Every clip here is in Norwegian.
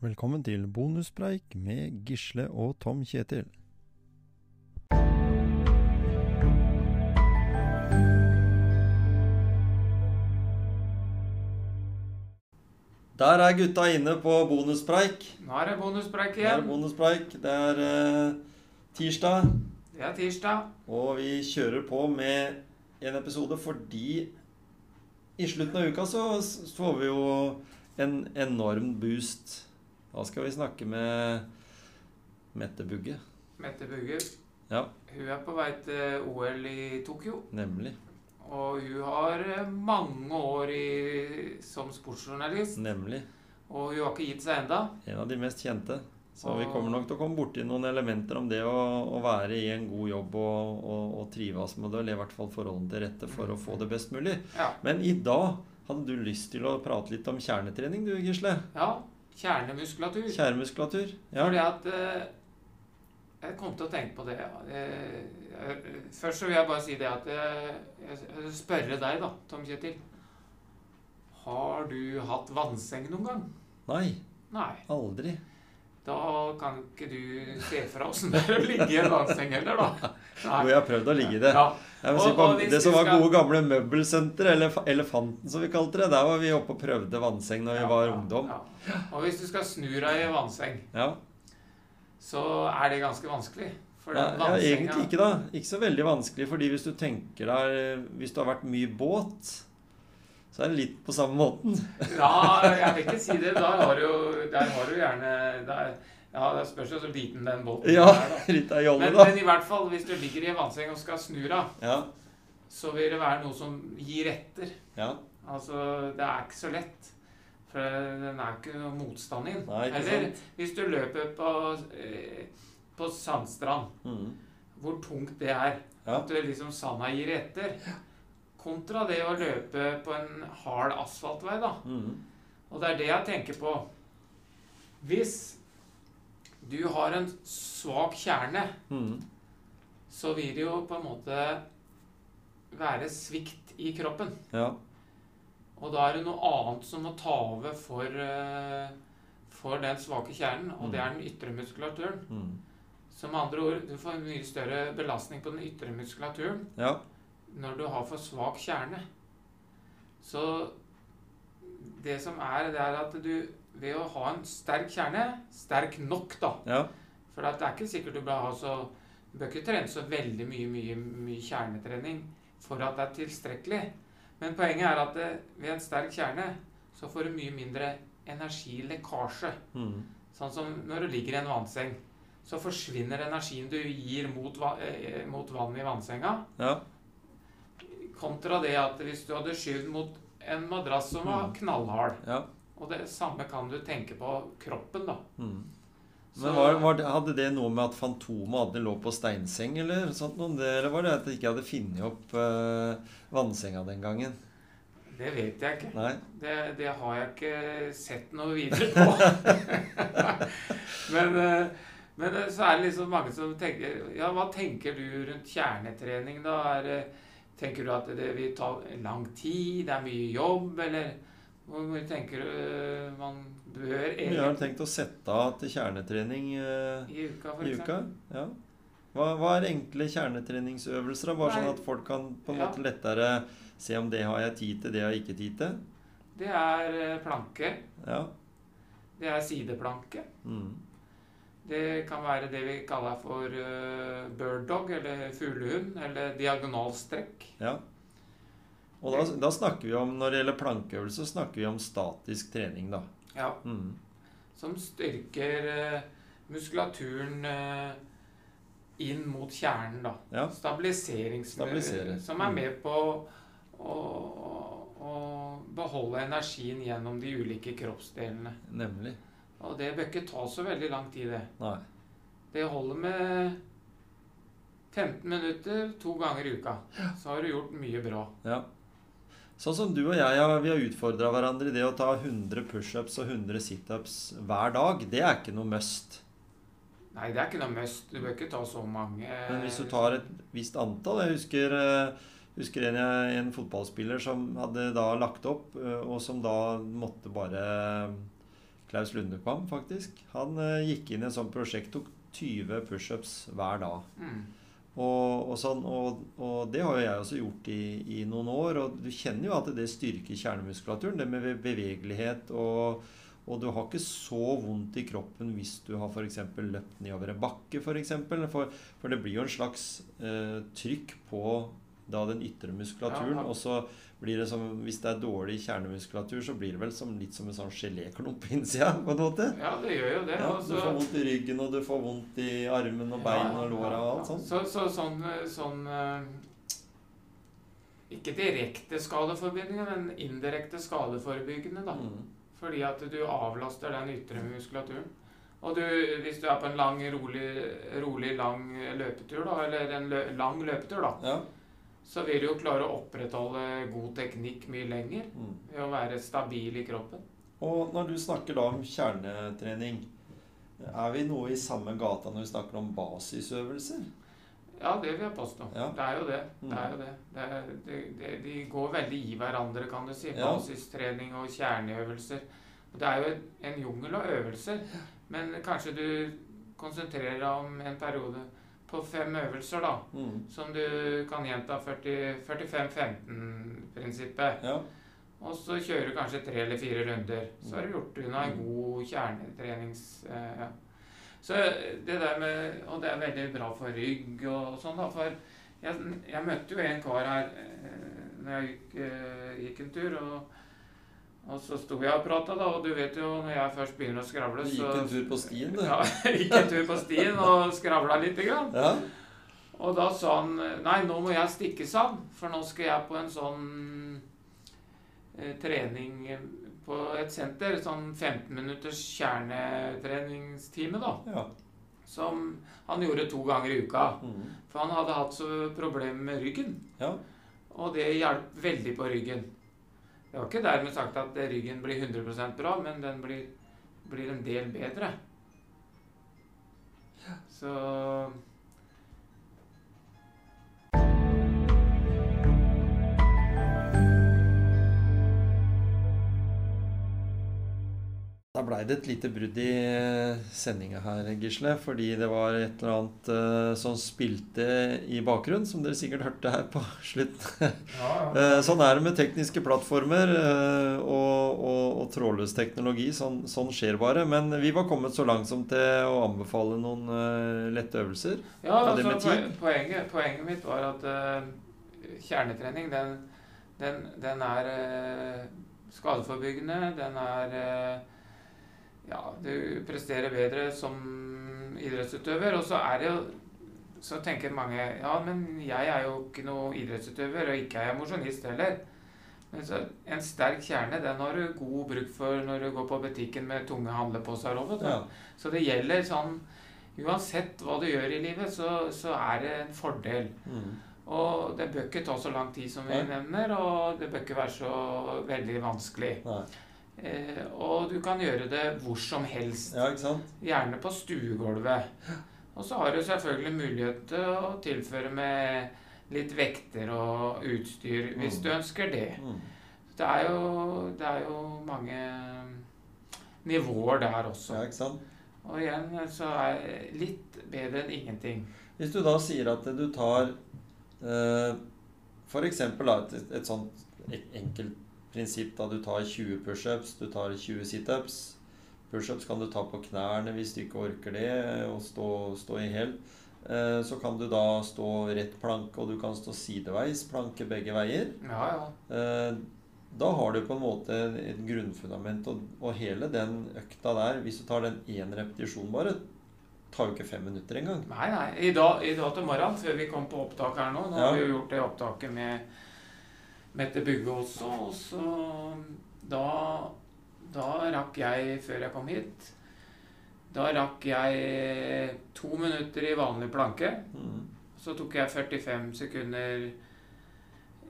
Velkommen til bonuspreik med Gisle og Tom Kjetil. Der er gutta inne på bonuspreik. Nå er det bonuspreik Det er igjen. bonuspreik. Det er eh, tirsdag, Det er tirsdag. og vi kjører på med en episode fordi i slutten av uka så s- får vi jo en enorm boost. Da skal vi snakke med Mette Bugge. Mette Bugge Ja, hun er på vei til OL i Tokyo. nemlig. Og hun har eh, mange år i, som sportsjournalist. Nemlig. Og hun har ikke gitt seg enda. En av de mest kjente. Så vi kommer nok til å komme borti noen elementer om det å, å være i en god jobb og, og, og trives med det, eller i hvert fall forholdene til rette for å få det best mulig. Ja. Men i dag hadde du lyst til å prate litt om kjernetrening, du, Gisle. ja kjernemuskulatur. Kjernemuskulatur. Ja. Fordi at eh, Jeg kom til å tenke på det. Ja. Eh, eh, Først så vil jeg bare si det at eh, Jeg jeg spørre deg, da, Tom Kjetil. Har du hatt vannseng noen gang? Nei, Nei. aldri. Da kan ikke du se fra åssen det er å ligge i en vannseng heller, da. Jo, Nei. jeg har prøvd å ligge i det. Ja. Jeg må si Og- på, og hvis det som du var skal- gode gamle møbelsenter, eller Elefanten som vi kalte det, der var vi oppe og prøvde vannseng når vi var ungdom. Ja. Og hvis du skal snu deg i vannseng, Ja. så er det ganske vanskelig. For Ja, den ja, egentlig vannsenga ikke, da. Ikke så veldig vanskelig, fordi hvis du tenker deg eh, Hvis du har vært mye i båt, så er det litt på samme måten. Ja, jeg vil ikke si det. Da har du jo Der har du gjerne der, Ja, det spørs jo så liten den båten Ja, er, da. litt av jolle, Men, da. men i hvert fall, hvis du ligger i en vannseng og skal snu deg, Ja, så vil det være noe som gir etter. ja. Altså, det er ikke så lett. For den er ikke noe motstand i den. Nei, ikke Eller hvis du løper på, eh, på sandstrand, Mm. hvor tungt det er. Ja. At du liksom sanda gir etter. Kontra det å løpe på en hard asfaltvei, da. Mm. Og det er det jeg tenker på. Hvis du har en svak kjerne, Mm. så vil det jo på en måte være svikt i kroppen. Ja. Og da er det noe annet som må ta over for, eh, for den svake kjernen, og det er den ytre muskulaturen. Mm. Som med andre ord, du får en mye større belastning på den ytre muskulaturen ja. når du har for svak kjerne. Så det som er, det er at du ved å ha en sterk kjerne, sterk nok da, Ja. for at det er ikke sikkert du bør ha så Du bør ikke trene så veldig mye, mye, mye kjernetrening for at det er tilstrekkelig. Men poenget er at eh, ved en sterk kjerne så får du mye mindre energilekkasje. Mm. Sånn som når du ligger i en vannseng, så forsvinner energien du gir mot, va- eh, mot vann i vannsenga, ja. kontra det at hvis du hadde skyvd mot en madrass som var Mm. knallhard. Ja. Og det samme kan du tenke på kroppen, da. Mm. Så- Men var, var det, Hadde det noe med at Fantomet hadde lå på steinseng, eller sånt noe? om Det, eller var det at de ikke hadde funnet opp eh, vannsenga den gangen? Det vet jeg ikke. Nei? Det, det har jeg ikke sett noe videre på. men, eh, men det- så er det liksom mange som tenker Ja, hva tenker du rundt kjernetrening, da? Er, det- tenker du at det vil ta lang tid, det er mye jobb, eller hvor mye tenker du eh, man bør Hvor mye har du tenkt å sette av til kjernetrening? eh, i uka, for I uka? eksempel? Ja. Hva, hva er enkle kjernetreningsøvelser? da? Bare sånn Nei. at folk kan på en Ja. måte lettere se om det har jeg tid til, det har jeg ikke tid til. Det er eh, planke. Ja. Det er sideplanke. Mm. Det kan være det vi kaller for eh, bird dog, eller fuglehund, eller diagonalstrekk. ja. Og da, da snakker vi om, når det gjelder plankeøvelse, så snakker vi om statisk trening, da. Ja, Mm. som styrker eh, muskulaturen eh, inn mot kjernen. da. Ja. Stabiliserings- Stabilisere. Som er Mm. med på å, å beholde energien gjennom de ulike kroppsdelene. Nemlig. Og det bør ikke ta så veldig lang tid, det. Nei. Det holder med 15 minutter to ganger i uka. Så har du gjort mye bra. Ja. Sånn som du og jeg har, vi har utfordra hverandre i det å ta 100 pushups og 100 situps hver dag, det er ikke noe must. Nei, det er ikke noe must. Du bør ikke ta så mange. Men hvis du tar et visst antall Jeg husker, eh, husker en, jeg- en fotballspiller som hadde da lagt opp, eh, og som da måtte bare Klaus Lundekvam, faktisk. Han eh, gikk inn i et sånt prosjekt, tok 20 pushups hver dag. Mm. Og, og, sånn, og, og det har jo jeg også gjort i, i noen år. Og du kjenner jo at det styrker kjernemuskulaturen, det med be- bevegelighet. Og, og du har ikke så vondt i kroppen hvis du har f.eks. løpt nedover en bakke. For, eksempel. for for det blir jo en slags eh, trykk på da den ytre muskulaturen. Ja, ja. Og så blir det som Hvis det er dårlig kjernemuskulatur, så blir det vel som, litt som en sånn geléklump på innsida, på en måte. Ja, det gjør jo det. Ja, og du så- får vondt i ryggen, og du får vondt i armen og bein og låra og alt sånt. Så, så sånn, eh, sånn eh, Ikke direkte skadeforebyggende, men indirekte skadeforebyggende. da. Mm. Fordi at du avlaster den ytre muskulaturen. Og du, hvis du er på en lang, rolig, rolig lang løpetur, da, eller en lø lang løpetur, da, Ja. så vil du jo klare å opprettholde god teknikk mye lenger Mm. ved å være stabil i kroppen. Og når du snakker da om kjernetrening, er vi noe i samme gata når vi snakker om basisøvelser? Ja, det vil jeg påstå. Ja. Det er jo det. Mm. det, er jo det. det, er, det, det de går veldig i hverandre, kan du si. Ja. Basistrening og kjerneøvelser. Og Det er jo en- en jungel av øvelser, men kanskje du konsentrerer deg om en periode på fem øvelser, da. Mm. Som du kan gjenta 40 45-15-prinsippet. Ja. Og så kjører du kanskje tre eller fire runder. Så Mm. har du gjort unna en god kjernetrenings... eh, ja. Så det der med, Og det er veldig bra for rygg og sånn, da. For jeg, jeg møtte jo en kar her eh, når jeg gikk, eh, gikk en tur, og, og så sto jeg og prata, da. Og du vet jo, når jeg først begynner å Du skravle, så gikk en tur på stien, du. Ja, jeg gikk en tur på stien og skravla lite grann. Ja. Og da sa han Nei, nå må jeg stikke, sa han. For nå skal jeg på en sånn eh, trening på et senter. Sånn 15 minutters kjernetreningstime, da. ja. Som han gjorde to ganger i uka. Mm. For han hadde hatt så problemer med ryggen. ja. Og det hjalp veldig på ryggen. Det var ikke dermed sagt at ryggen blir 100 bra, men den blir, blir en del bedre. Så Da blei det et lite brudd i eh, sendinga her, Gisle. Fordi det var et eller annet eh, som spilte i bakgrunnen, som dere sikkert hørte her på slutten. Eh, Sånn er det med tekniske plattformer eh, og, og, og trådløs teknologi. Sånn, sånn skjer bare. Men vi var kommet så langt som til å anbefale noen eh, lette øvelser. Ja, Ta det altså, med tid. poe- poenget, poenget mitt var at eh, kjernetrening, den, den, den er eh, skadeforebyggende. Den er eh, Ja, du presterer bedre som idrettsutøver. Og så er det jo Så tenker mange Ja, men jeg er jo ikke noe idrettsutøver, og ikke er jeg mosjonist heller. Men så, en sterk kjerne den har du god bruk for når du går på butikken med tunge handleposer òg, vet du. Ja. Så det gjelder sånn Uansett hva du gjør i livet, så, så er det en fordel. Mm. Og det bør ikke ta så lang tid som vi Nei. nevner, og det bør ikke være så veldig vanskelig. Nei. Eh, og du kan gjøre det hvor som helst. Ja, ikke sant? Gjerne på stuegulvet. Og så har du selvfølgelig mulighet til å tilføre med litt vekter og utstyr, hvis Mm. du ønsker det. Mm. Det er jo, det er jo mange nivåer der også. Ja, ikke sant? Og igjen eh, så er litt bedre enn ingenting. Hvis du da sier at du tar eh, for eksempel da, et, et sånt en- enkelt prinsipp da du tar 20 pushups, du tar 20 situps. Pushups kan du ta på knærne hvis du ikke orker det, eh, og stå, stå i hæl. Eh, Så kan du da stå rett planke, og du kan stå sideveis, planke begge veier. Ja, ja. Eh, Da har du på en måte et grunnfundament, og, og hele den økta der, hvis du tar den én repetisjon bare, tar jo ikke fem minutter engang. Nei, nei. I dag, I dag til morgen, før vi kom på opptak her nå Nå har Ja. vi jo gjort det opptaket med Mette Bugge også, og så da, da rakk jeg, før jeg kom hit Da rakk jeg to minutter i vanlig planke. Mm. Så tok jeg 45 sekunder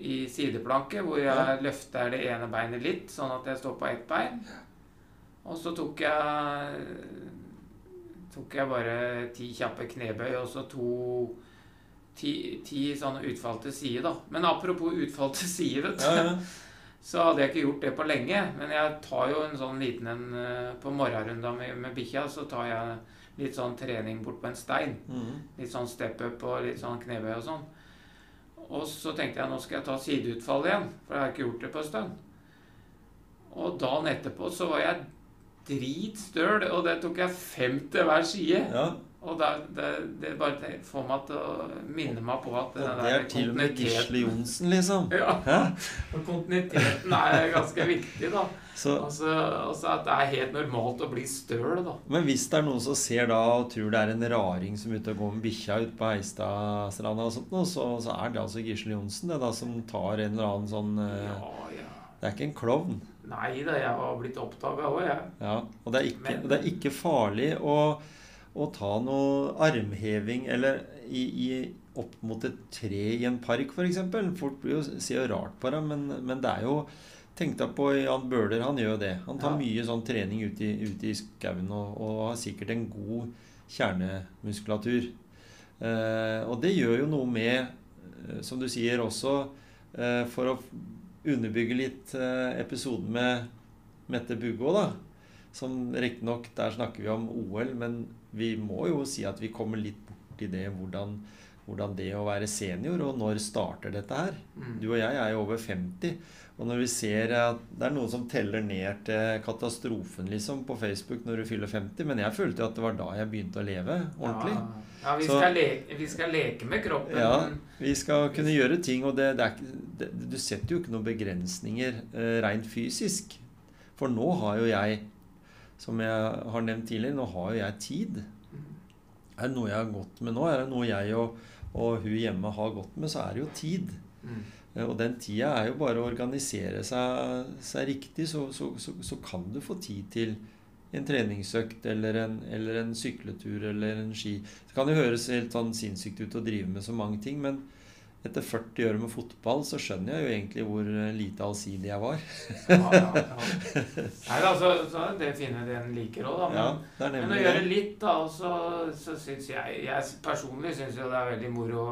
i sideplanke, hvor jeg Ja. løfter det ene beinet litt, sånn at jeg står på ett bein. Og så tok jeg tok jeg bare ti kjappe knebøy og så to ti, ti sånne utfall til side, da. Men apropos utfall til side, vet du. Ja, ja. så hadde jeg ikke gjort det på lenge. Men jeg tar jo en sånn liten en eh, på morgenrunda med, med bikkja, så tar jeg litt sånn trening bort på en stein. Mhm. Litt sånn step up og litt sånn knebøy og sånn. Og så tenkte jeg nå skal jeg ta sideutfall igjen, for jeg har ikke gjort det på en stund. Og dagen etterpå så var jeg dritstøl, og det tok jeg fem til hver side. Ja, Og det, det, det bare te- får meg til å minne meg på at og det er til og med kontinuiteten- Gisle Johnsen, liksom. Ja, Hæ? og kontinuiteten er ganske viktig, da. Så, Altså, altså at det er helt normalt å bli støl, da. men hvis det er noen som ser da og tror det er en raring som er ute og går med bikkja ut på Heistadstranda og sånt, nå, så, så er det altså Gisle Johnsen det da som tar en eller annen sånn eh, Ja, ja. Det er ikke en klovn. Nei da, jeg var blitt oppdaga òg, jeg. Ja, og det er ikke, Men- det er ikke farlig å, å ta noe armheving eller i, i, opp mot et tre i en park, f.eks. Folk blir jo, ser jo rart på deg, men, men det er jo Tenk deg på Jan Bøhler, han gjør jo det. Han tar Ja. mye sånn trening ute i, ute i skauen og, og har sikkert en god kjernemuskulatur. Eh, og det gjør jo noe med, eh, som du sier også, eh, for å underbygge litt eh, episoden med Mette Bugå, da. Som riktignok, der snakker vi om OL, men vi må jo si at vi kommer litt bort i det hvordan, hvordan det å være senior, og når starter dette her? Mm. Du og jeg er jo over 50, og når vi ser at det er noen som teller ned til katastrofen liksom på Facebook når du fyller 50, men jeg følte jo at det var da jeg begynte å leve ordentlig. Ja, ja vi, Så- skal leke, vi skal leke med kroppen. Ja, vi skal kunne gjøre ting, og det, det er, ikke- det, du setter jo ikke noen begrensninger eh, rent fysisk. For nå har jo jeg, som jeg har nevnt tidligere, nå har jo jeg tid. Er det noe jeg har gått med nå, er det noe jeg og, og hun hjemme har gått med, så er det jo tid. Mm. Eh, Og den tida er jo bare å organisere seg, seg riktig, så, så, så, så kan du få tid til en treningsøkt eller en, eller en sykletur eller en ski. Det kan jo høres helt sånn sinnssykt ut å drive med så mange ting, men etter 40 år med fotball så skjønner jeg jo egentlig hvor eh, lite allsidig jeg var. Ja, ja, ja. Nei, altså, så er det fine det en liker òg, da. Men, Ja, det er men å nemlig gjøre det. litt, da, og så, så syns jeg Jeg personlig syns jo det er veldig moro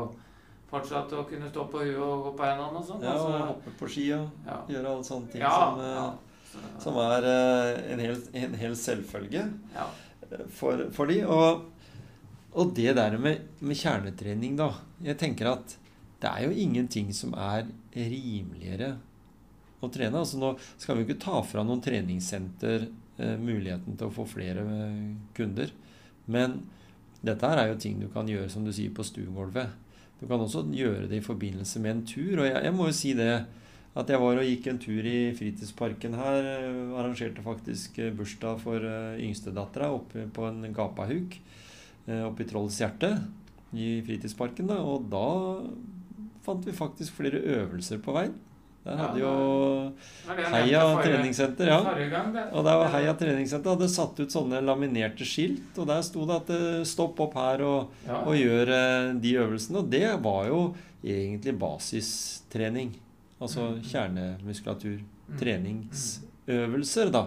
fortsatt å kunne stå på huet og gå på hendene og sånn. Ja, og altså. hoppe på ski og Ja. gjøre alle sånne ting Ja, som, eh, ja, så- som er eh, en hel, en hel selvfølge. ja. for, for de. Og, og det der med, med kjernetrening, da. Jeg tenker at det er jo ingenting som er rimeligere å trene. Altså nå skal vi jo ikke ta fra noen treningssenter eh, muligheten til å få flere eh, kunder. Men dette her er jo ting du kan gjøre, som du sier, på stuegulvet. Du kan også gjøre det i forbindelse med en tur. Og jeg, jeg må jo si det at jeg var og gikk en tur i fritidsparken her. eh, Arrangerte faktisk eh, bursdag for eh, yngstedattera oppe på en gapahuk eh, oppe i Trolls hjerte i fritidsparken. Da. Og da fant vi faktisk flere øvelser på veien. Der Ja, hadde jo Det var det Heia jeg nevnte forrige- treningssenter, ja. Forrige gang, det. Og der var Heia treningssenter hadde satt ut sånne laminerte skilt, og der sto det at eh, 'stopp opp her' og, Ja. og gjør eh, de øvelsene. Og det var jo egentlig basistrening. Altså Mm. kjernemuskulatur. Mm. Treningsøvelser, da.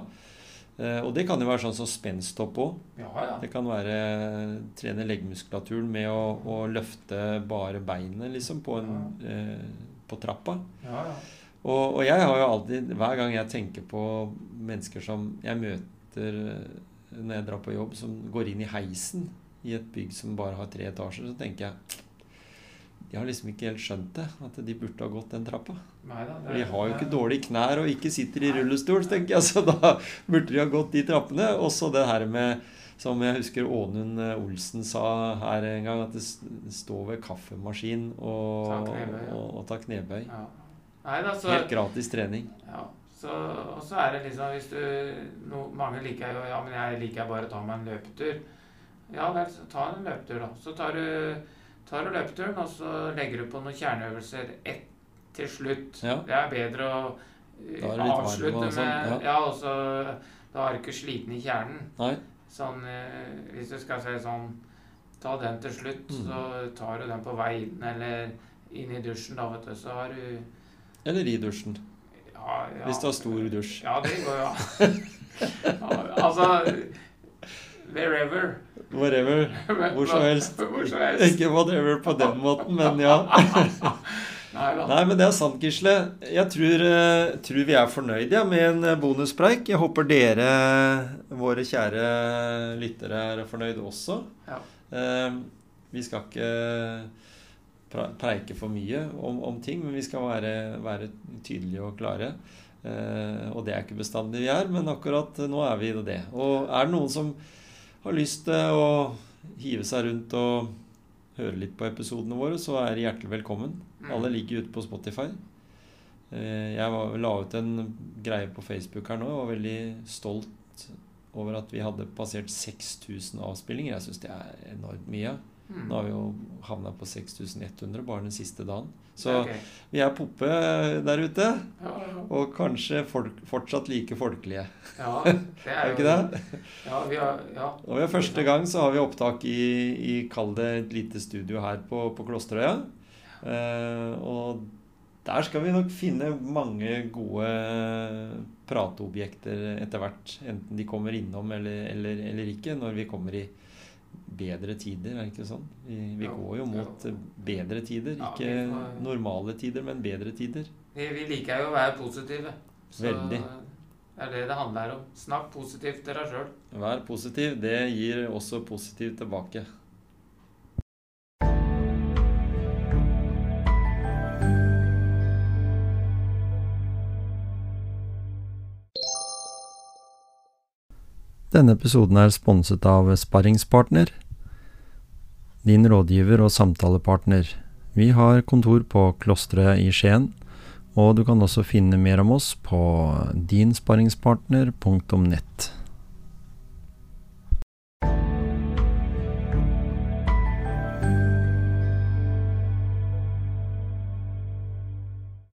Eh, Og det kan jo være sånn som spensthopp òg. Mm. Ja, ja. Det kan være eh, trene leggmuskulaturen med å, å løfte bare beinet, liksom, på, en, eh, på trappa. ja, ja. Og, og jeg har jo alltid, hver gang jeg tenker på mennesker som jeg møter eh, når jeg drar på jobb, som går inn i heisen i et bygg som bare har tre etasjer, så tenker jeg de har liksom ikke helt skjønt det, at de burde ha gått den trappa. Neida, det- For de har jo ikke Nei. dårlige knær og ikke sitter i rullestol, så tenker jeg, så da burde de ha gått de trappene. Og så det her med, som jeg husker Ånund Olsen sa her en gang, at det s- står ved kaffemaskin og, Ta knebøy, ja. og, og ta knebøy. Ja. Neida, så Helt gratis trening. Ja, så, og så er det liksom hvis du no, Mange liker jo Ja, men jeg liker bare å ta meg en løpetur. Ja vel, så ta en løpetur, da. Så tar du, tar du løpeturen, og så legger du på noen kjerneøvelser ett til slutt. Ja. Det er bedre å eh, Da er du litt varm avslutte og med sånn, ja. Ja, og så Da er du ikke sliten i kjernen. Nei. Sånn, eh, hvis du skal si sånn Ta den til slutt, Mm. så tar du den på vei inn eller inn i dusjen, da, vet du. Så har du Eller i dusjen. ja, ja. Hvis du har stor dusj. Ja, det går jo an. Ja, altså Wherever. Whatever. Hvor så helst. Hvor så helst. Ikke whatever på den måten, men ja. Nei da. Nei, men det er sant, Gisle. Jeg tror, eh, tror vi er fornøyd ja, med en eh, bonuspreik. Jeg håper dere, våre kjære lyttere, er fornøyd også. Ja. Eh, Vi skal ikke pre- preike for mye om, om ting, men vi skal være, være tydelige og klare. Eh, Og det er ikke bestandig vi er, men akkurat nå er vi det. Og er det noen som har lyst til å hive seg rundt og høre litt på episodene våre, så er de hjertelig velkommen. Mm. Alle ligger ute på Spotify. Eh, Jeg var, la ut en greie på Facebook her nå og var veldig stolt over at vi hadde passert 6000 avspillinger. Jeg syns det er enormt mye. Mm. Nå har vi jo havna på 6100 bare den siste dagen. Så Ok. vi er poppe der ute, Ja, ja. og kanskje folk, fortsatt like folkelige. ja, det Er vi er jo ikke det? Ja, vi har, ja. Og ved første gang så har vi opptak i, i kall det et lite studio her på, på Klosterøya. Eh, og der skal vi nok finne mange gode prateobjekter etter hvert. Enten de kommer innom eller, eller, eller ikke, når vi kommer i bedre tider, er det ikke sånn? Vi, vi Jo, går jo mot jo. bedre tider. Ja, Ikke vi får- normale tider, men bedre tider. Vi, vi liker jo å være positive. Veldig. Det er det det handler om. Snakk positivt til deg sjøl. Vær positiv. Det gir også positivt tilbake. Denne episoden er sponset av Sparringspartner, din rådgiver og samtalepartner. Vi har kontor på Klosteret i Skien, og du kan også finne mer om oss på dinsparringspartner.nett.